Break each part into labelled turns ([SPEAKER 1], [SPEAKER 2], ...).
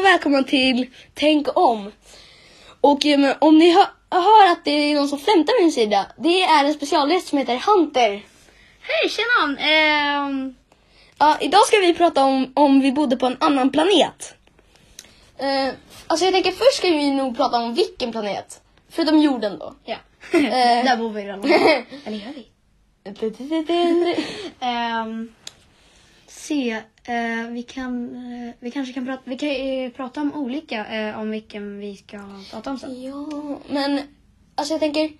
[SPEAKER 1] välkomna till Tänk om. Och eh, men om ni hör, hör att det är någon som flämtar vid min sida, det är en specialgäst som heter Hunter.
[SPEAKER 2] Hej, tjena! Ehm,
[SPEAKER 1] Ja, idag ska vi prata om om vi bodde på en annan planet. Eh, alltså jag tänker först ska vi nog prata om vilken planet. Förutom jorden då.
[SPEAKER 2] ja.
[SPEAKER 1] Eh.
[SPEAKER 2] Där bor vi redan. Eller gör vi? Ehm, se, eh, vi, kan, eh, vi kanske kan prata, vi kan, eh, prata om olika, eh, om vilken vi ska prata om sen.
[SPEAKER 1] ja, men alltså jag tänker...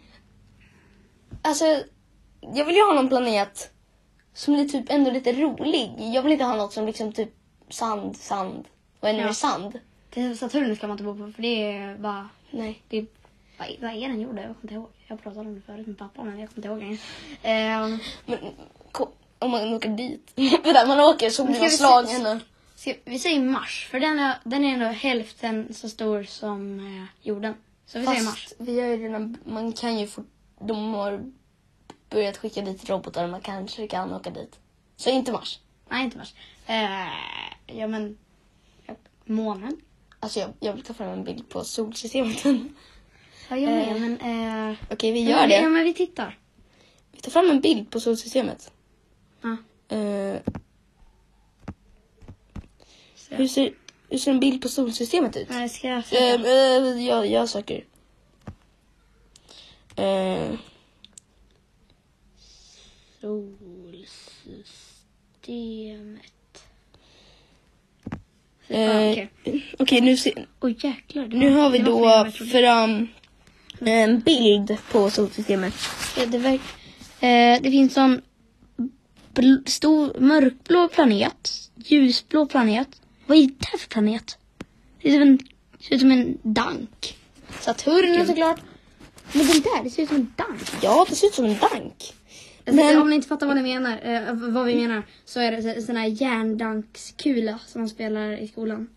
[SPEAKER 1] Alltså, jag vill ju ha någon planet som är typ ändå lite rolig. Jag vill inte ha något som liksom typ sand, sand och ännu
[SPEAKER 2] Ja.
[SPEAKER 1] mer sand.
[SPEAKER 2] Till Saturnus ska man inte bo på för det är bara,
[SPEAKER 1] Nej.
[SPEAKER 2] det är, vad, är- vad är den gjord? Jag kommer inte ihåg. Jag pratade om det förut med pappa men jag kommer inte ihåg längre. Ehm,
[SPEAKER 1] Men, ko- om man åker dit. För där man åker så
[SPEAKER 2] Men
[SPEAKER 1] blir
[SPEAKER 2] ska
[SPEAKER 1] man
[SPEAKER 2] vi se-
[SPEAKER 1] slagen. och-
[SPEAKER 2] ska, vi säger Mars för den är, den är ändå hälften så stor som eh, jorden. Så vi säger Mars.
[SPEAKER 1] Fast vi har ju redan, man kan ju fort, de har börjat skicka dit robotar, man kanske kan åka dit. Så inte Mars.
[SPEAKER 2] Nej, inte Mars. Eh, ja men, ja, månen.
[SPEAKER 1] Alltså jag, jag vill ta fram en bild på solsystemet. Okej,
[SPEAKER 2] Ja, jag med,
[SPEAKER 1] Eh,
[SPEAKER 2] men... Eh,
[SPEAKER 1] vi
[SPEAKER 2] ja,
[SPEAKER 1] gör
[SPEAKER 2] Ja,
[SPEAKER 1] det.
[SPEAKER 2] men vi tittar.
[SPEAKER 1] Vi tar fram en bild på solsystemet.
[SPEAKER 2] Ja.
[SPEAKER 1] Eh,
[SPEAKER 2] Så.
[SPEAKER 1] hur, ser, hur ser en bild på solsystemet ut?
[SPEAKER 2] Nej, ska jag
[SPEAKER 1] Eh,
[SPEAKER 2] försöka?
[SPEAKER 1] eh, jag, jag söker. Eh,
[SPEAKER 2] Solsystemet.
[SPEAKER 1] eh,
[SPEAKER 2] Ja, Okej.
[SPEAKER 1] Okej, nu, se-
[SPEAKER 2] Oj, jäklar. det
[SPEAKER 1] nu
[SPEAKER 2] var-
[SPEAKER 1] har vi
[SPEAKER 2] det var
[SPEAKER 1] då
[SPEAKER 2] fler än jag trodde.
[SPEAKER 1] fram en bild på solsystemet.
[SPEAKER 2] Ja, det, verk, eh, det finns en bl- stor mörkblå planet, ljusblå planet. Vad är det här för planet? Det ser ut som en, ser ut som en dank.
[SPEAKER 1] Saturn såklart.
[SPEAKER 2] Men den där, det ser ut som en dank.
[SPEAKER 1] Ja, det ser ut som en dank.
[SPEAKER 2] Men...
[SPEAKER 1] Men-
[SPEAKER 2] Om ni inte fattar vad, ni menar, eh, vad vi menar så är det så- sån här järndankskula som man spelar i skolan.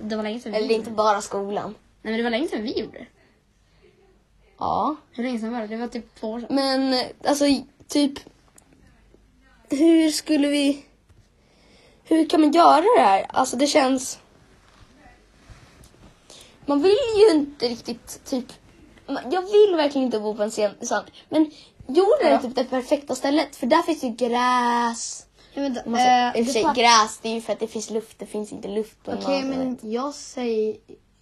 [SPEAKER 2] Det var länge sedan vi
[SPEAKER 1] Eller inte bara skolan.
[SPEAKER 2] Nej men det var länge sedan vi gjorde det.
[SPEAKER 1] Ja.
[SPEAKER 2] Hur länge sedan var det? Det var typ två år sedan.
[SPEAKER 1] Men eh, alltså typ. Hur skulle vi. Hur kan man göra det här? Alltså det känns. Man vill ju inte riktigt typ. man- Jag vill verkligen inte bo på en scen, sand. Men jorden är
[SPEAKER 2] Ja.
[SPEAKER 1] typ det perfekta stället. För där finns ju gräs.
[SPEAKER 2] men,
[SPEAKER 1] Om Man säger, I och för sig gräs det är ju för att det finns luft. Det finns inte luft på en
[SPEAKER 2] Okej
[SPEAKER 1] annan
[SPEAKER 2] men
[SPEAKER 1] planet.
[SPEAKER 2] jag säger,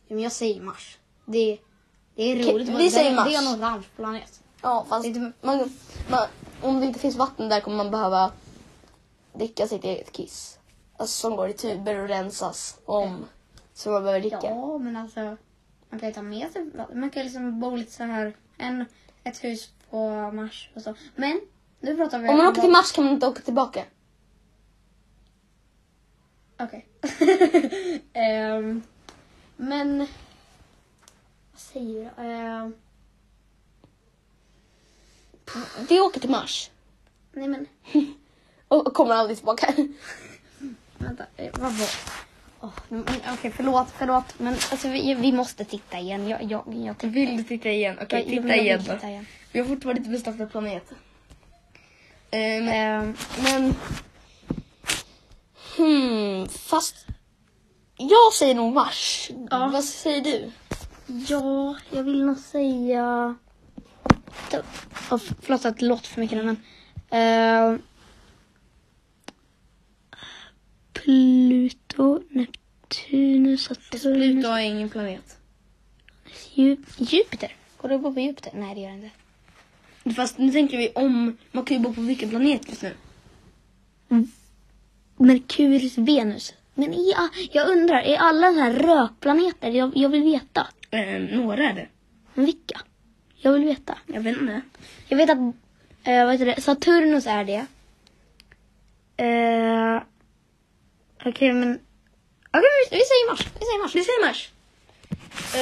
[SPEAKER 2] men jag säger Mars. Det, det är
[SPEAKER 1] Okej,
[SPEAKER 2] roligt.
[SPEAKER 1] vi
[SPEAKER 2] men det,
[SPEAKER 1] säger Mars.
[SPEAKER 2] Det är en orange planet.
[SPEAKER 1] Ja, fast
[SPEAKER 2] Inte-
[SPEAKER 1] man, man, om det inte finns vatten där kommer man behöva dricka sitt eget kiss. Alltså som går i tuber och rensas om. Så man behöver dricka.
[SPEAKER 2] Ja men alltså, man kan ju ta med sig, man kan ju liksom bo lite så här, en, ett hus på Mars och så. Men, nu pratar vi
[SPEAKER 1] Om man åker till Mars kan man inte åka tillbaka.
[SPEAKER 2] Okej. Ehm, men... Vad säger jag? Ehm,
[SPEAKER 1] Vi åker till Mars
[SPEAKER 2] nej men,
[SPEAKER 1] och och kommer aldrig tillbaka.
[SPEAKER 2] vänta. eh, Vad var... Åh, men- men Okej, förlåt, förlåt. Men alltså, vi, vi måste titta igen. Jag, jag, jag tycker-
[SPEAKER 1] Vill du titta igen? Okej,
[SPEAKER 2] jag, jag, jag vill titta igen.
[SPEAKER 1] Vi har fortfarande inte bestämt en planet.
[SPEAKER 2] Ehm,
[SPEAKER 1] men... Hmm, fast... Jag säger nog Mars.
[SPEAKER 2] Ja.
[SPEAKER 1] Vad säger du?
[SPEAKER 2] ja, jag vill nog säga... Oh, förlåt att det låter för mycket nu, men... ehm, Pluto, Neptunus, Saturnus...
[SPEAKER 1] är ingen planet.
[SPEAKER 2] Ju- Jupiter? Går du att bo på Jupiter? Nej, det gör det inte.
[SPEAKER 1] Fast nu tänker vi om, man kan ju bo på vilken planet just nu.
[SPEAKER 2] Merkurius, Venus. Men ja, jag undrar, är alla så här rökplaneter? Jag, jag vill veta.
[SPEAKER 1] Eh, några är det.
[SPEAKER 2] Men vilka? Jag vill veta.
[SPEAKER 1] Jag vet inte.
[SPEAKER 2] Jag vet att eh, vad heter det? Saturnus är det. Eh, Okej, men... Okej, vi, vi säger Mars. Vi säger Mars.
[SPEAKER 1] Vi säger Mars.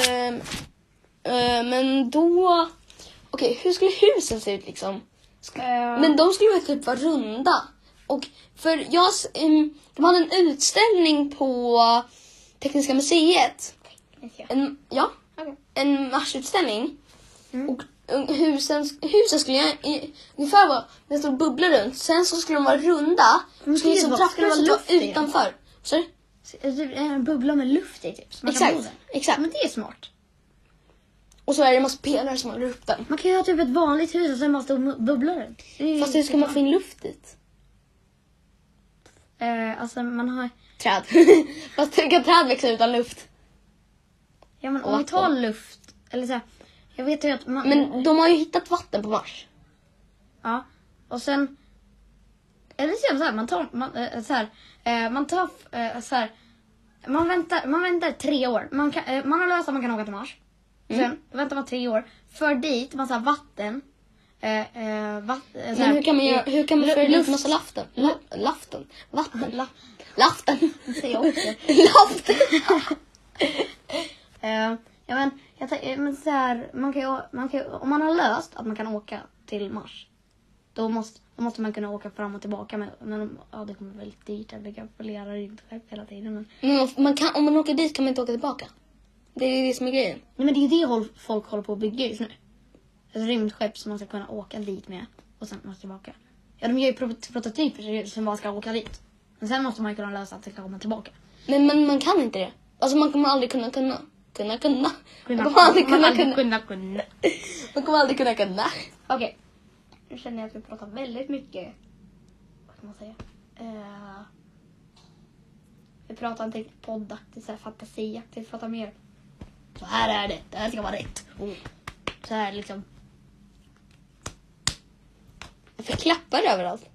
[SPEAKER 1] Ehm, eh, men då... Okej, hur skulle husen se ut liksom? Men de skulle ju typ vara runda. Och för jag... s- ehm, de hade en utställning på Tekniska museet. En, ja,
[SPEAKER 2] Okej.
[SPEAKER 1] en marsutställning.
[SPEAKER 2] Mm.
[SPEAKER 1] Och eh, husen, husen skulle jag, i, ungefär vara med en stor bubbla runt. Sen så skulle de vara runda.
[SPEAKER 2] Men
[SPEAKER 1] Och skulle
[SPEAKER 2] gud,
[SPEAKER 1] liksom
[SPEAKER 2] vad-
[SPEAKER 1] trapporna
[SPEAKER 2] skulle det
[SPEAKER 1] som var
[SPEAKER 2] vara luft i dem?
[SPEAKER 1] utanför. Så,
[SPEAKER 2] Typ en bubbla med luft i typ. så man kan
[SPEAKER 1] Exakt,
[SPEAKER 2] bo där.
[SPEAKER 1] exakt.
[SPEAKER 2] Men det är smart.
[SPEAKER 1] Och så är det en massa pelare som håller upp den.
[SPEAKER 2] Man kan ju ha typ ett vanligt hus och sen bara stå och mu- bubbla runt. Det är ju
[SPEAKER 1] Fast hur ska man få in luft dit?
[SPEAKER 2] Eh, alltså man har...
[SPEAKER 1] Träd. Fast hur kan träd växa utan luft?
[SPEAKER 2] Ja men
[SPEAKER 1] Och
[SPEAKER 2] om vi tar
[SPEAKER 1] vatten.
[SPEAKER 2] luft. Eller så här, Jag vet ju att man...
[SPEAKER 1] Men de har ju hittat vatten på Mars.
[SPEAKER 2] Ja. Och sen... Eller så gör man så här, man tar... Man, eh, så här, eh, man tar... Eh, så här, man, väntar, man väntar tre år. Man, kan, eh, man har löst att man kan åka till Mars.
[SPEAKER 1] Mm.
[SPEAKER 2] Sen väntar man tre år. För dit massa vatten. Eh, eh, vatt, eh, så
[SPEAKER 1] Men
[SPEAKER 2] här-
[SPEAKER 1] hur kan man, göra, hur kan man
[SPEAKER 2] Lu-
[SPEAKER 1] föra dit
[SPEAKER 2] luft- Mm.
[SPEAKER 1] massa laften? La, laften? Vatten?
[SPEAKER 2] La-
[SPEAKER 1] Laften?
[SPEAKER 2] Säger jag också.
[SPEAKER 1] Laften?
[SPEAKER 2] Eh, ja, men, jag tänk- eh, men så här, man kan ju, man kan ju, om man har löst att man kan åka till Mars, då måste, då måste man kunna åka fram och tillbaka. Men, men ja, det kommer bli lite dyrt att bygga polerar inte själv hela tiden. Men,
[SPEAKER 1] Men om man kan, om man åker dit kan man inte åka tillbaka. Det är ju det som är grejen.
[SPEAKER 2] nej, men det är ju det håll- folk håller på att bygga just nu. Ett rymdskepp som man ska kunna åka dit med och sen måste tillbaka. Ja, de gör ju pro- prototyper som bara ska åka dit. Men sen måste man ju kunna lösa att det ska komma tillbaka.
[SPEAKER 1] Men, men man kan inte det. Alltså man kommer aldrig kunna kunna. Kunna kunna. Man
[SPEAKER 2] Man
[SPEAKER 1] kommer aldrig
[SPEAKER 2] kommer
[SPEAKER 1] kunna
[SPEAKER 2] aldrig
[SPEAKER 1] kunna.
[SPEAKER 2] kunna, kunna.
[SPEAKER 1] Man kommer aldrig kunna kunna.
[SPEAKER 2] Okej. Nu känner jag att vi pratar väldigt mycket. Vad kan man säga? Eh, vi pratar inte riktigt poddaktigt, så här fantasiaktigt. Vi pratar mer. Så här är det. Det här ska vara rätt. Och så här liksom.
[SPEAKER 1] Varför klappar det överallt?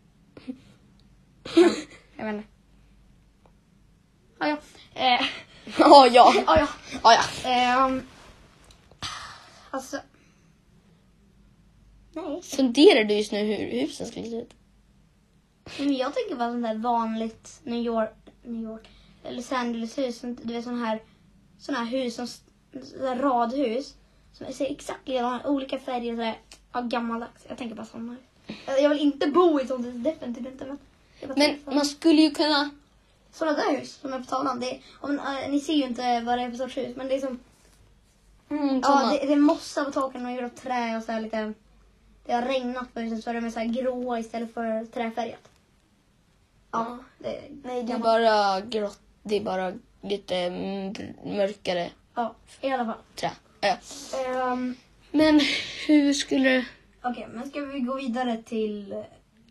[SPEAKER 2] Jag vet inte. Ah, ja. Eh,
[SPEAKER 1] Ja, ja.
[SPEAKER 2] ah, ja.
[SPEAKER 1] Ja, ja.
[SPEAKER 2] Ehm, alltså. Nej.
[SPEAKER 1] Funderar du just nu hur husen ska se ut?
[SPEAKER 2] Men jag tänker bara sånt där vanligt New York, New York eller Los Angeles-hus. sånt- Du vet sån här, sån här hus, som, sån här radhus. Som ser exakt likadana olika färger. Så här, ja, gammaldags. Jag tänker bara såna. hus. Alltså, Jag jag vill inte bo i sånt hus, definitivt inte. Men, jag bara
[SPEAKER 1] Men
[SPEAKER 2] tänker på-
[SPEAKER 1] man skulle ju kunna...
[SPEAKER 2] Sådana där hus som är på tavlan. Det är, om, eh, ni ser ju inte vad det är för sorts hus. Men det är som,
[SPEAKER 1] Mm,
[SPEAKER 2] ja, det, det är mossa på taken och gjort av trä och så här lite. Det har regnat på husen så är de är så här gråa istället för träfärgat. Ja, det, nej,
[SPEAKER 1] det är bara grått. Det är bara lite mm, mörkare
[SPEAKER 2] Ja, i alla fall.
[SPEAKER 1] trä. Äh.
[SPEAKER 2] Ehm,
[SPEAKER 1] Men hur skulle...
[SPEAKER 2] Okej, men ska vi gå vidare till eh,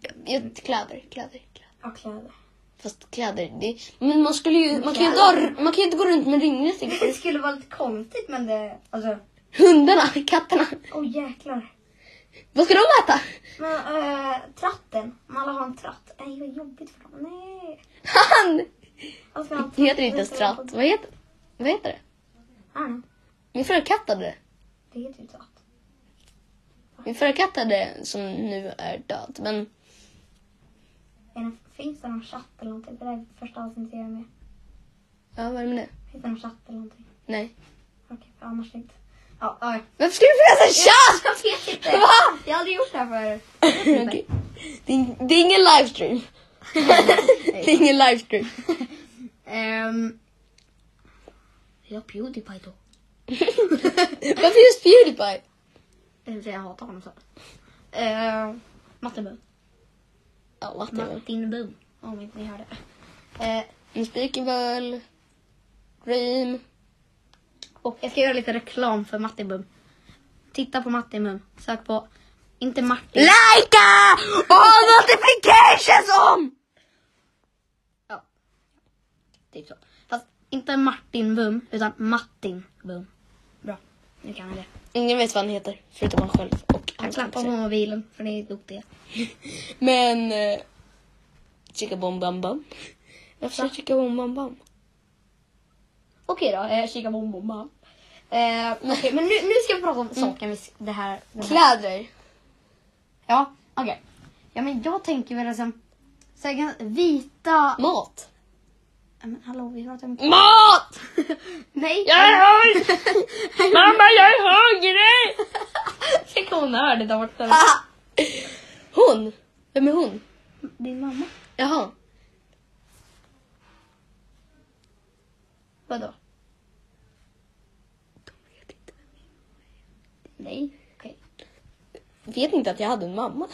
[SPEAKER 1] Ja, kläder, kläder, kläder.
[SPEAKER 2] ja, kläder?
[SPEAKER 1] Fast kläder, det... Men man skulle ju... Man kan ju inte, ha, man kan ju inte gå runt med ringnet. i-
[SPEAKER 2] Det skulle vara lite konstigt, men det... Alltså,
[SPEAKER 1] Hundarna, katterna.
[SPEAKER 2] åh oh, jäklar.
[SPEAKER 1] Vad ska de äta?
[SPEAKER 2] Men eh, tratten, om alla har en tratt. Nej, vad jobbigt för dem. Nej.
[SPEAKER 1] Han!
[SPEAKER 2] Alla ska ha en
[SPEAKER 1] Det heter inte ens
[SPEAKER 2] Alla ska ha
[SPEAKER 1] tratt. Vad heter, vad heter det?
[SPEAKER 2] Ja, Ah, nej,
[SPEAKER 1] Min förra katt hade det.
[SPEAKER 2] det heter ju tratt.
[SPEAKER 1] Min förra katt hade det, som nu är död. Men
[SPEAKER 2] Är det- Finns det någon chatt eller någonting? Det där är första avsnittet jag är med.
[SPEAKER 1] Ja, vad är det med det?
[SPEAKER 2] Finns det någon chatt eller någonting?
[SPEAKER 1] Nej.
[SPEAKER 2] Okej, för annars inte. Ja, ja.
[SPEAKER 1] Varför ska du pressa chatt?
[SPEAKER 2] Jag vet inte.
[SPEAKER 1] Va?
[SPEAKER 2] Jag har aldrig gjort det här förut.
[SPEAKER 1] Okej. det, är- det är ingen livestream. det är ingen livestream.
[SPEAKER 2] Um, jag har Pewdiepie då.
[SPEAKER 1] Varför just Pewdiepie?
[SPEAKER 2] Det vill säga, Jag hatar honom så. Uh, Matte Boom.
[SPEAKER 1] Ja, what the
[SPEAKER 2] Martin Boom. Om inte ni hörde. Eh,
[SPEAKER 1] Unspeakable. Dream.
[SPEAKER 2] och jag ska göra lite reklam för Martin Boom. Titta på Martin Boom. Sök på, inte Martin.
[SPEAKER 1] Likea! Och notifications om!
[SPEAKER 2] ja. Typ så. Fast inte Martin Boom, utan Martin Boom. Bra. Nu kan jag det.
[SPEAKER 1] Ingen vet vad han heter, förutom han själv och
[SPEAKER 2] Han
[SPEAKER 1] hans
[SPEAKER 2] klappar på
[SPEAKER 1] kompisar.
[SPEAKER 2] mobilen, för ni är duktiga.
[SPEAKER 1] Men... Eh, chicka bom bam bam. Varför sa jag chicka bom bam bam?
[SPEAKER 2] Okej då, eh, kika bom bom bam. Eh, Okej, men nu, nu ska vi prata om saken. vi s- Det här, den här
[SPEAKER 1] Kläder.
[SPEAKER 2] Ja, okej. Ja, men jag tänker väl liksom... Så här, ganska vita...
[SPEAKER 1] Mat.
[SPEAKER 2] Ja, Men hallå, vi pratar om...
[SPEAKER 1] Mat!
[SPEAKER 2] Nej!
[SPEAKER 1] Jag är hungrig! Mamma, jag är hungrig!
[SPEAKER 2] Tänk om hon hör det där borta.
[SPEAKER 1] Hon? Vem är hon?
[SPEAKER 2] Ah. Din mamma?
[SPEAKER 1] Jaha.
[SPEAKER 2] Vadå? Nej, okej.
[SPEAKER 1] Vet inte att jag hade en mamma.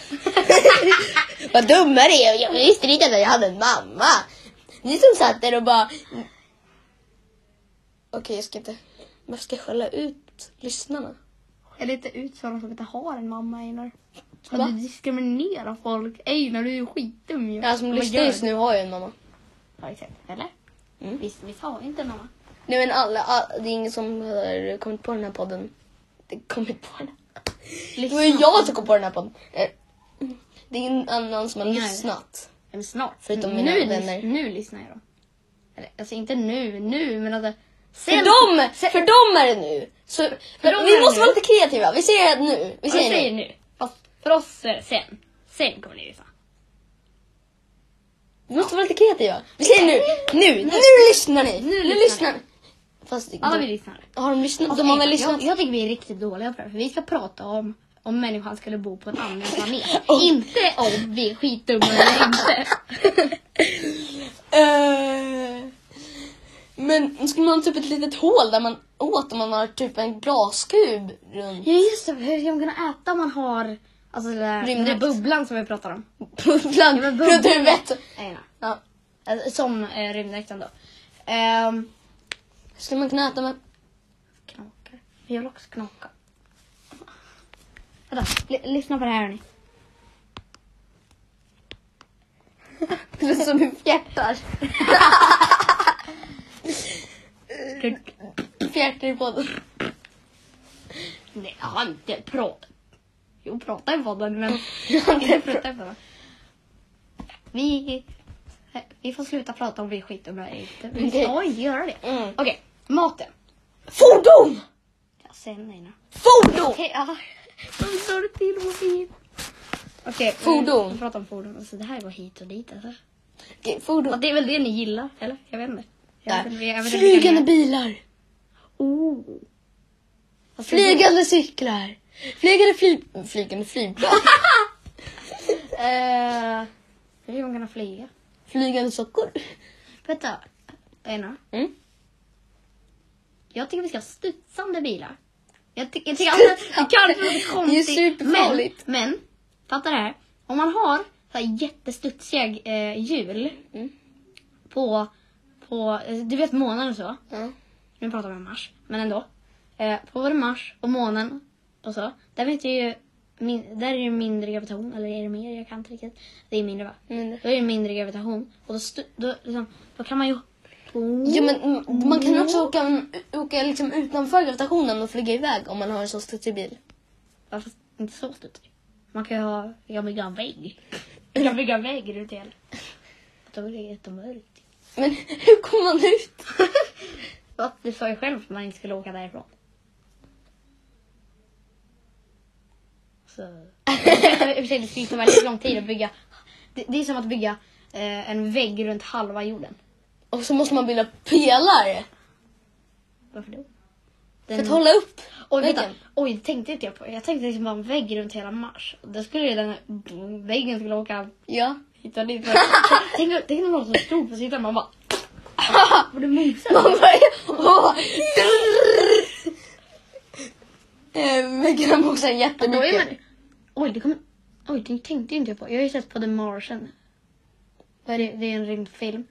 [SPEAKER 1] Vad dumma det är. Jag visste inte att jag hade en mamma. Ni som satt där och bara... Okej, jag ska inte... Men jag ska skälla ut lyssnarna.
[SPEAKER 2] Eller inte ut för de som inte har en mamma Einar.
[SPEAKER 1] Va?
[SPEAKER 2] Att du diskriminerar folk. Einar du är ju skitdum ju.
[SPEAKER 1] Ja, som
[SPEAKER 2] Men
[SPEAKER 1] Alltså, lyssnar
[SPEAKER 2] gör
[SPEAKER 1] just
[SPEAKER 2] det.
[SPEAKER 1] nu har ju en mamma.
[SPEAKER 2] Ja exakt. Eller?
[SPEAKER 1] Mm.
[SPEAKER 2] Visst, visst har vi inte en mamma?
[SPEAKER 1] Nej men alla, all, det är ingen som har kommit på den här podden. Det kommit på den. Det var ju jag som kom på den här podden. Eh, Det är ingen annan som har
[SPEAKER 2] Nej.
[SPEAKER 1] lyssnat.
[SPEAKER 2] Men snart.
[SPEAKER 1] Förutom mina
[SPEAKER 2] nu,
[SPEAKER 1] vänner.
[SPEAKER 2] Nu lyssnar jag då. Eller, alltså inte nu, nu men alltså.
[SPEAKER 1] För dem, för dem är det nu. Så,
[SPEAKER 2] dem är
[SPEAKER 1] vi
[SPEAKER 2] det
[SPEAKER 1] måste
[SPEAKER 2] nu.
[SPEAKER 1] vara lite kreativa. Vi säger nu. Vi
[SPEAKER 2] Vi säger,
[SPEAKER 1] säger nu.
[SPEAKER 2] nu. Fast för oss är det sen. Sen kommer ni lyssna.
[SPEAKER 1] Vi måste vara lite kreativa. Vi säger nu. Nu, nu lyssnar ni. Nu lyssnar ni. Fast
[SPEAKER 2] Alla vi
[SPEAKER 1] de,
[SPEAKER 2] lyssnar.
[SPEAKER 1] har de lyssnat? De Alltså, har väl lyssnat?
[SPEAKER 2] Jag, jag tycker vi är riktigt dåliga på det här, för vi ska prata om om människan skulle bo på en annan planet.
[SPEAKER 1] Om-
[SPEAKER 2] Inte om vi är skitdumma eller inte.
[SPEAKER 1] Eh, Men skulle man ha typ ett litet hål där man åt om man har typ en glaskub runt?
[SPEAKER 2] Ja just det, hur ska man kunna äta om man har alltså den där, den där
[SPEAKER 1] Rymdrätt.
[SPEAKER 2] bubblan som vi pratar om?
[SPEAKER 1] bubblan
[SPEAKER 2] men
[SPEAKER 1] runt
[SPEAKER 2] bubblan.
[SPEAKER 1] huvudet.
[SPEAKER 2] Nej, nej.
[SPEAKER 1] Ja.
[SPEAKER 2] Alltså, som eh, rymddräkten då. Ehm,
[SPEAKER 1] Skulle man kunna äta med...
[SPEAKER 2] knakar. Men Jag vill också knaka. Vänta, l- lyssna på det här hörni.
[SPEAKER 1] Det som du fjärtar. Fjärtar i podden.
[SPEAKER 2] Nej, jag har inte pratat. Jo, prata i podden, men
[SPEAKER 1] Jag har inte
[SPEAKER 2] inte prata i podden. Vi, vi får sluta prata om vi är skitdumma eller inte. Vi
[SPEAKER 1] Okej.
[SPEAKER 2] ska inte göra det.
[SPEAKER 1] Mm.
[SPEAKER 2] Okej, maten.
[SPEAKER 1] Fordon!
[SPEAKER 2] Ja, sen nej nu.
[SPEAKER 1] Fordon!
[SPEAKER 2] Okej, ja. Varför sa du till och hit? Okej, men
[SPEAKER 1] Fordon.
[SPEAKER 2] Vi pratar om fordon. Alltså, det här var hit och dit alltså.
[SPEAKER 1] Okej,
[SPEAKER 2] Ja,
[SPEAKER 1] fordon.
[SPEAKER 2] det är väl det ni gillar, eller? Jag vet inte. Jag vet
[SPEAKER 1] Där.
[SPEAKER 2] inte, jag vet inte vilka ni
[SPEAKER 1] Flygande
[SPEAKER 2] är.
[SPEAKER 1] bilar.
[SPEAKER 2] Oh. Alltså,
[SPEAKER 1] Flygande cyklar. Flygande fly... Flygande flygplan.
[SPEAKER 2] det- Eh, hur ska man kunna flyga?
[SPEAKER 1] Flygande sockor.
[SPEAKER 2] Vänta, Ena.
[SPEAKER 1] Mm.
[SPEAKER 2] Jag tycker vi ska ha studsande bilar. Jag, ty- jag tycker alltid att det kanske låter konstigt.
[SPEAKER 1] Det är superfarligt.
[SPEAKER 2] Men, men, fatta det här. Om man har så här jättestudsiga eh, hjul
[SPEAKER 1] Mm.
[SPEAKER 2] på, på, eh, du vet månen och så.
[SPEAKER 1] Ja.
[SPEAKER 2] Nu pratar vi om Mars, men ändå. Eh, på både Mars och månen och så, där vet jag ju, min, där är det ju mindre gravitation, eller är det mer? Jag kan inte riktigt. Det är mindre va?
[SPEAKER 1] Mindre.
[SPEAKER 2] Då är det mindre gravitation och då, stu, då, liksom, då kan man ju... Oh.
[SPEAKER 1] Ja, men mm, man kan också åka, åka liksom utanför gravitationen och flyga iväg om man har en så studsig bil.
[SPEAKER 2] Ja, fast inte så studsig. Man kan ju ha, jag kan bygga en vägg. Jag kan bygga en vägg runt hela. Då är det jättemörkt.
[SPEAKER 1] Men hur kommer man ut?
[SPEAKER 2] Va? Du sa ju själv att man inte skulle åka därifrån. Så... I och för sig, det skulle ta väldigt lång tid att bygga. Det, det är som att bygga eh, en vägg runt halva jorden.
[SPEAKER 1] Och så måste man bygga pelare
[SPEAKER 2] Varför då?
[SPEAKER 1] för att hålla upp.
[SPEAKER 2] Oj, vänta.
[SPEAKER 1] väggen.
[SPEAKER 2] Oj, det tänkte inte jag på. Jag tänkte liksom bara en vägg runt hela Mars. Då skulle ju den här väggen skulle åka
[SPEAKER 1] Ja.
[SPEAKER 2] hit och dit. Tänk tänk om någon som stod på sidan man bara... Var det mosad?
[SPEAKER 1] Man bara... Eh, Väggarna mosar
[SPEAKER 2] Då är
[SPEAKER 1] jättemycket.
[SPEAKER 2] man... Oj, det kommer... Oj, det tänkte inte jag på. Jag har ju sett på The Martian. Det, det är en rymdfilm.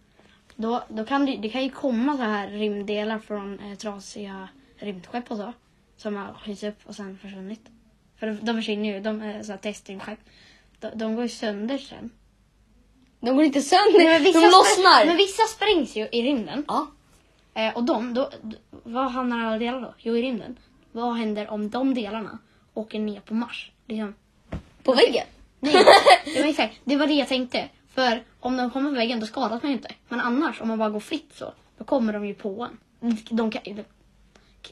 [SPEAKER 2] Då, då kan det, det kan ju komma så här rymddelar från eh, trasiga rymdskepp och så. Som har skjutits upp och sen försvunnit. För de, de försvinner ju, de är så här testrymdskepp. De, de går ju sönder sen.
[SPEAKER 1] De går inte sönder, de
[SPEAKER 2] spr-
[SPEAKER 1] lossnar.
[SPEAKER 2] Men vissa sprängs ju i rymden.
[SPEAKER 1] Ja.
[SPEAKER 2] Eh, och de, då, d- vad hamnar alla delar då? Jo, i rymden. Vad händer om de delarna åker ner på Mars? Liksom,
[SPEAKER 1] På väggen.
[SPEAKER 2] Nej, det var exakt. Det var det jag tänkte. För om de kommer på väggen då skadas man ju inte. Men annars om man bara går fritt så, då kommer de ju på en. De kan. De,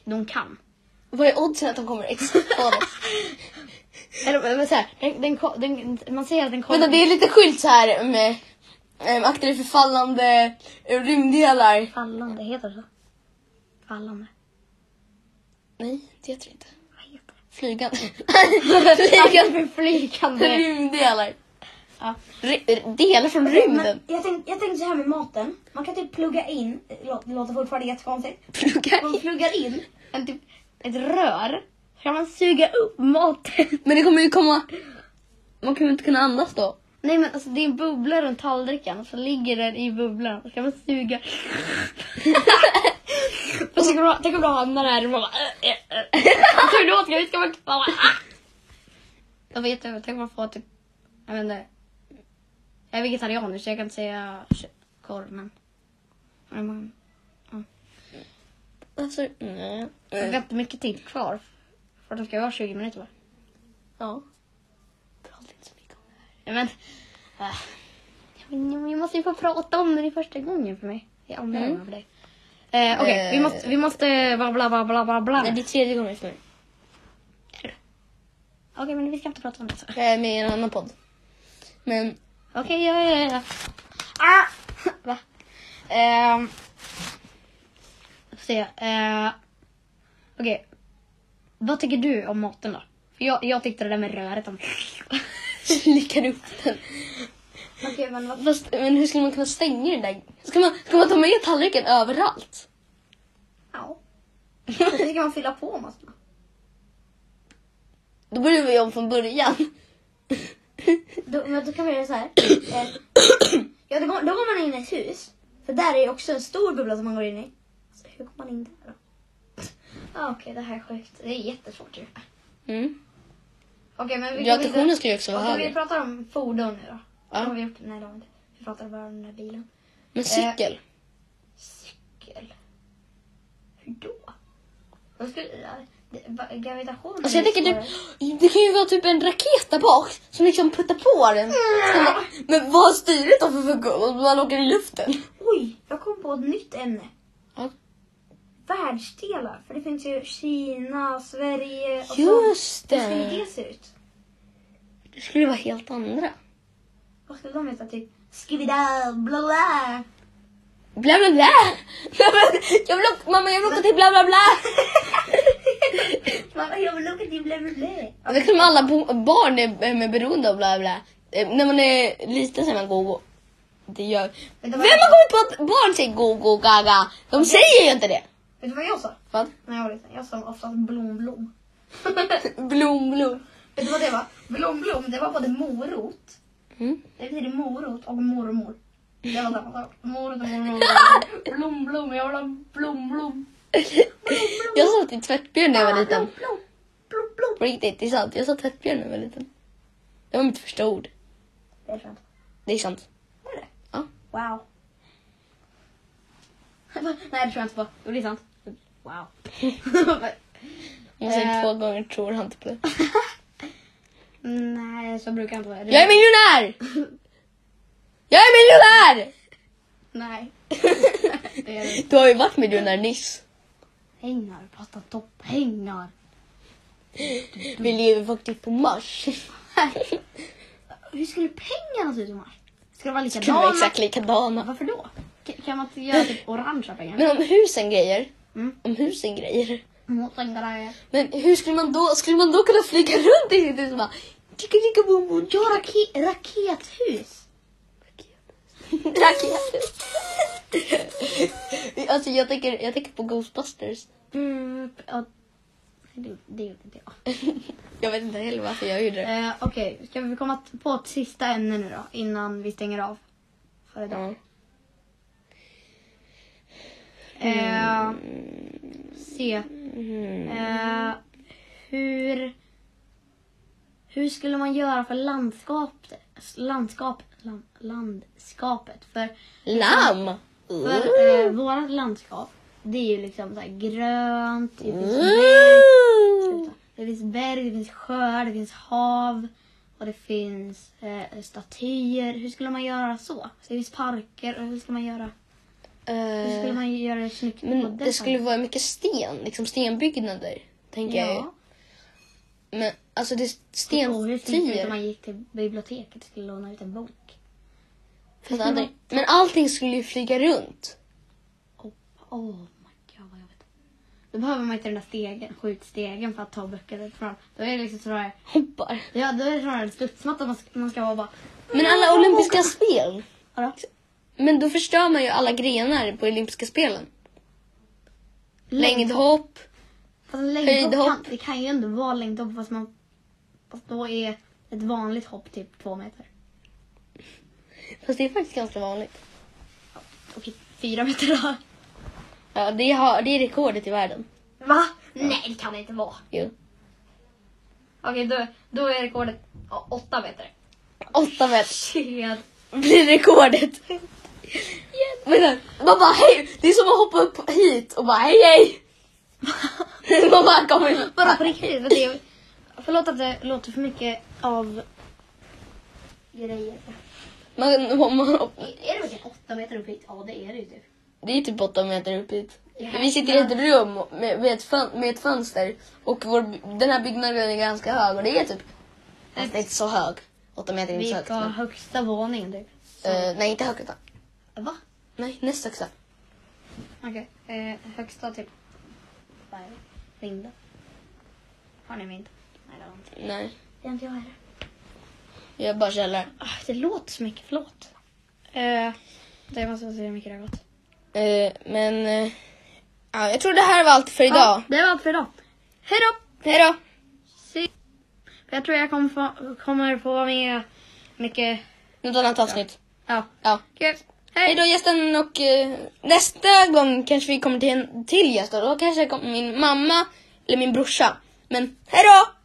[SPEAKER 2] de kan.
[SPEAKER 1] Vad är oddsen att de kommer exakt på oss?
[SPEAKER 2] Eller men så här, den, den, ko- den, man ser att den kommer.
[SPEAKER 1] Vänta, det är lite skylt så här med um, akta dig för fallande eh, rymddelar.
[SPEAKER 2] Fallande, heter det så? Fallande.
[SPEAKER 1] Nej, det heter det inte.
[SPEAKER 2] Vad heter det?
[SPEAKER 1] Flygande.
[SPEAKER 2] Flygande. Flygande.
[SPEAKER 1] Rymddelar.
[SPEAKER 2] Ja.
[SPEAKER 1] Ry- r- delar från rymden.
[SPEAKER 3] Men jag, tänkte, jag tänkte så här med maten. Man kan typ plugga in, lå- det låter fortfarande jättekonstigt.
[SPEAKER 1] Pluggar
[SPEAKER 3] Man
[SPEAKER 1] i.
[SPEAKER 3] pluggar in.
[SPEAKER 2] En typ, ett rör. Kan man suga upp maten?
[SPEAKER 1] Men det kommer ju komma... Man kommer inte kunna andas då.
[SPEAKER 2] Nej men alltså det är en bubbla runt tallriken och så ligger den i bubblan. Så kan man suga.
[SPEAKER 1] Och så kommer du- Tänk om du hamnar där och man bara... äh, äh, äh. Tur du åt grej, ska man bara... ah.
[SPEAKER 2] Jag vet inte, tänk om man får typ... Jag vet inte. Jag är vegetarian nu så jag kan inte säga kö- korv men... men man-
[SPEAKER 1] Alltså, nej.
[SPEAKER 2] Det är inte mycket tid kvar. För att de ska vara 20 minuter va?
[SPEAKER 1] Ja. Prata inte så mycket om det.
[SPEAKER 2] Ja, Men... Äh. Jag jag måste ju få prata om det, det är första gången för mig. Det är andra
[SPEAKER 1] Mm.
[SPEAKER 2] gången för dig. Eh, Okej, vi måste, vi måste bla bla bla bla bla bla.
[SPEAKER 1] Nej, det
[SPEAKER 2] Okej
[SPEAKER 1] är tredje gången för mig.
[SPEAKER 2] men vi ska inte prata om det. så.
[SPEAKER 1] Jag är med i en annan podd. Men,
[SPEAKER 2] Okej, ja, ja, ja. Ah! Va? Ehm. Får se. Eh, Okej. Vad tycker du om maten då? För jag, jag tyckte det där med röret om...
[SPEAKER 1] slickar upp den.
[SPEAKER 3] Okej, men vad...
[SPEAKER 1] Fast, men hur skulle man kunna stänga den där? Ska man, ska man ta med tallriken överallt?
[SPEAKER 3] Ja. Jag tycker man fylla på massor.
[SPEAKER 1] Då börjar vi om från början.
[SPEAKER 3] Då, men då kan man göra så här. Eh, ja, då, går- då går man in i ett hus. För där är ju också en stor bubbla som man går in i. Alltså, hur kommer man in där då? Ah, Okej, det här är sjukt. Det är jättesvårt ju.
[SPEAKER 1] Mm.
[SPEAKER 3] Okej, men vi
[SPEAKER 1] Gravitationen ska ju också vara
[SPEAKER 3] Okej, vi
[SPEAKER 1] högre.
[SPEAKER 3] pratar om fordon nu då.
[SPEAKER 1] Ja.
[SPEAKER 3] Vad har vi gjort? Nej, det har vi inte. Vi pratar bara om den där bilen.
[SPEAKER 1] Men cykel?
[SPEAKER 3] Cykel. Hur då? Vad skulle... ja, det- va- Gravitation?
[SPEAKER 1] Alltså jag tänker typ, det kan ju vara typ en raket där bak som liksom puttar på den. Ska man- Men vad har styret då för funktion? Om Man åker i luften.
[SPEAKER 3] Oj, jag kom på ett nytt ämne.
[SPEAKER 1] Ja.
[SPEAKER 3] Världsdelar. För det finns ju Kina, Sverige och
[SPEAKER 1] Just
[SPEAKER 3] så. Hur skulle
[SPEAKER 1] det!
[SPEAKER 3] det se ut?
[SPEAKER 1] Det skulle vara helt andra.
[SPEAKER 3] Vad skulle de heta? Typ skivida bla bla.
[SPEAKER 1] Bla bla bla! Nej, men Jag vill åka, mamma jag vill åka till bla bla bla!
[SPEAKER 3] Mamma, jag vill åka till bla bla bla.
[SPEAKER 1] Ja, Det kan alla bo- barn är, är med beroende av bla bla. Eh, När man är liten säger man go go. Det gör... Vem
[SPEAKER 3] Vänta, vad-
[SPEAKER 1] har kommit på att barn säger go go gaga? De säger ju inte det.
[SPEAKER 3] Vet du vad jag sa?
[SPEAKER 1] Vad?
[SPEAKER 3] När jag var liten. Jag sa oftast blom blom.
[SPEAKER 1] Blom blom.
[SPEAKER 3] Vet du vad det var? Blom blom, det var både morot.
[SPEAKER 1] Mm.
[SPEAKER 3] Det betyder morot och mormor. Det var samma sak. Morot och mormor. Blom blom, jag vill ha blom blom.
[SPEAKER 1] Jag satt i tvättbjörn när jag var liten.
[SPEAKER 3] Blom blom. Blom blom.
[SPEAKER 1] På riktigt, det är sant. Jag sa tvättbjörn när jag var liten. Det var mitt första ord.
[SPEAKER 3] Det är skönt.
[SPEAKER 1] Det är sant.
[SPEAKER 3] Är det?
[SPEAKER 1] Ja.
[SPEAKER 3] Wow. Nej det tror jag inte på. Jo det är sant. Wow.
[SPEAKER 1] Om man säger
[SPEAKER 2] Eh.
[SPEAKER 1] två gånger tror han typ. inte på det.
[SPEAKER 2] Nej, så brukar jag inte vara.
[SPEAKER 1] Jag är miljonär! Jag är miljonär!
[SPEAKER 2] Nej. Det är det.
[SPEAKER 1] Du har ju varit miljonär nyss.
[SPEAKER 2] Pengar, prata om pengar.
[SPEAKER 1] Vi lever faktiskt på Mars.
[SPEAKER 2] Hur skulle pengarna se ut Omar? Ska de vara
[SPEAKER 1] Skulle vara
[SPEAKER 2] likadana?
[SPEAKER 1] exakt likadana.
[SPEAKER 2] Varför då? K- Kan man inte göra typ orangea pengar?
[SPEAKER 1] Men om husen grejer.
[SPEAKER 2] Mm.
[SPEAKER 1] Om husen grejer.
[SPEAKER 2] Mot en grej.
[SPEAKER 1] Men hur skulle man då, skulle man då kunna flyga runt i sitt hus och bara... Ticka, ticka, boom, boom,
[SPEAKER 3] Ja rake- rakethus.
[SPEAKER 1] Raket. alltså jag tänker, jag tänker på Ghostbusters.
[SPEAKER 2] Bup, ja. Det- Det gjorde inte jag.
[SPEAKER 1] Jag vet inte heller varför jag gjorde det.
[SPEAKER 2] Eh, Okej, ska vi komma t- på ett sista ämne nu då? Innan vi stänger av. För
[SPEAKER 1] Ja.
[SPEAKER 2] idag. Eh,
[SPEAKER 1] Mm.
[SPEAKER 2] se. Eh, hur... Hur skulle man göra för landskapet? Landskap, land, landskapet? För,
[SPEAKER 1] Lamm! Uh.
[SPEAKER 2] för eh, vårt landskap, det är ju liksom så här grönt, det finns
[SPEAKER 1] Ooh.
[SPEAKER 2] Sluta. Det finns berg, det finns sjöar, det finns hav och det finns eh, statyer. Hur skulle man göra så? Det finns parker och hur ska man göra? Hur skulle
[SPEAKER 1] Eh,
[SPEAKER 2] man göra det snyggt? på
[SPEAKER 1] Men
[SPEAKER 2] den
[SPEAKER 1] det skulle
[SPEAKER 2] parken?
[SPEAKER 1] vara mycket sten, liksom stenbyggnader. Tänker jag ju.
[SPEAKER 2] Ja.
[SPEAKER 1] Men alltså det är
[SPEAKER 2] Och hur skulle det se ut om
[SPEAKER 1] stenstatyer.
[SPEAKER 2] man gick till biblioteket och skulle låna ut en bok?
[SPEAKER 1] Fast aldrig- Men allting skulle ju flyga runt.
[SPEAKER 2] Åh, oh, my god vad jobbigt. Då behöver man inte den där stegen, skjutstegen för att ta böcker fram. Då är det liksom snarare,
[SPEAKER 1] Hoppar.
[SPEAKER 2] ja, då är det snarare en studsmatta man ska, man ska vara bara...
[SPEAKER 1] Men alla olympiska spel.
[SPEAKER 2] Vadå?
[SPEAKER 1] Men då förstör man ju alla grenar på olympiska spelen. Längdhopp.
[SPEAKER 2] Fast längdhopp kan,
[SPEAKER 1] Höjdhopp.
[SPEAKER 2] det kan ju ändå vara längdhopp fast, man, fast då är ett vanligt hopp typ två meter.
[SPEAKER 1] Fast det är faktiskt ganska vanligt.
[SPEAKER 2] Okej, fyra meter då.
[SPEAKER 1] Ja, det, har, det är rekordet i världen.
[SPEAKER 2] Va? Nej, det kan det inte vara.
[SPEAKER 1] Jo.
[SPEAKER 2] Okej, då, då är rekordet å- åtta meter.
[SPEAKER 1] Åtta meter
[SPEAKER 2] Shit.
[SPEAKER 1] blir rekordet. Men den- man bara hej, det är som att hoppa upp hit och bara hej hej. man bara kommer.
[SPEAKER 2] Bara på riktigt. för det- Förlåt att det låter för mycket av grejer.
[SPEAKER 1] Man, man, man,
[SPEAKER 2] Är det verkligen åtta meter upp hit? Ja, det är det ju typ.
[SPEAKER 1] det är typ åtta meter upp hit. Vi sitter i ett rum med, med, ett, fön, med ett fönster och vår, den här byggnaden är ganska hög och det är typ, fast det är inte så hög. Åtta meter är inte
[SPEAKER 2] Vi
[SPEAKER 1] så högt.
[SPEAKER 2] ska
[SPEAKER 1] Men,
[SPEAKER 2] ha högsta våningen typ.
[SPEAKER 1] eh, nej, inte högt. utan-
[SPEAKER 2] Va?
[SPEAKER 1] Nej, näst högsta.
[SPEAKER 2] Okej. Eh, högsta typ... Vad är det? Vind. Har ni vind? Nej, det har inte.
[SPEAKER 1] Nej,
[SPEAKER 2] Det är inte jag heller.
[SPEAKER 1] jag är bara källare.
[SPEAKER 2] Ah, det låter så mycket, förlåt. Eh, det måste vara så mycket det har gått.
[SPEAKER 1] Eh, men eh, ja, jag tror det här var allt för idag.
[SPEAKER 2] det var allt för idag. Hej då!
[SPEAKER 1] Hej då!
[SPEAKER 2] Se- För Jag tror jag kommer få, kommer få vara med mycket...
[SPEAKER 1] Något annat avsnitt.
[SPEAKER 2] Ja,
[SPEAKER 1] Ja.
[SPEAKER 2] kul.
[SPEAKER 1] Hej
[SPEAKER 2] Hej!
[SPEAKER 1] då gästen och eh, nästa gång kanske vi kommer till en till gäst och då kanske det kommer min mamma eller min brorsa. Men hej då!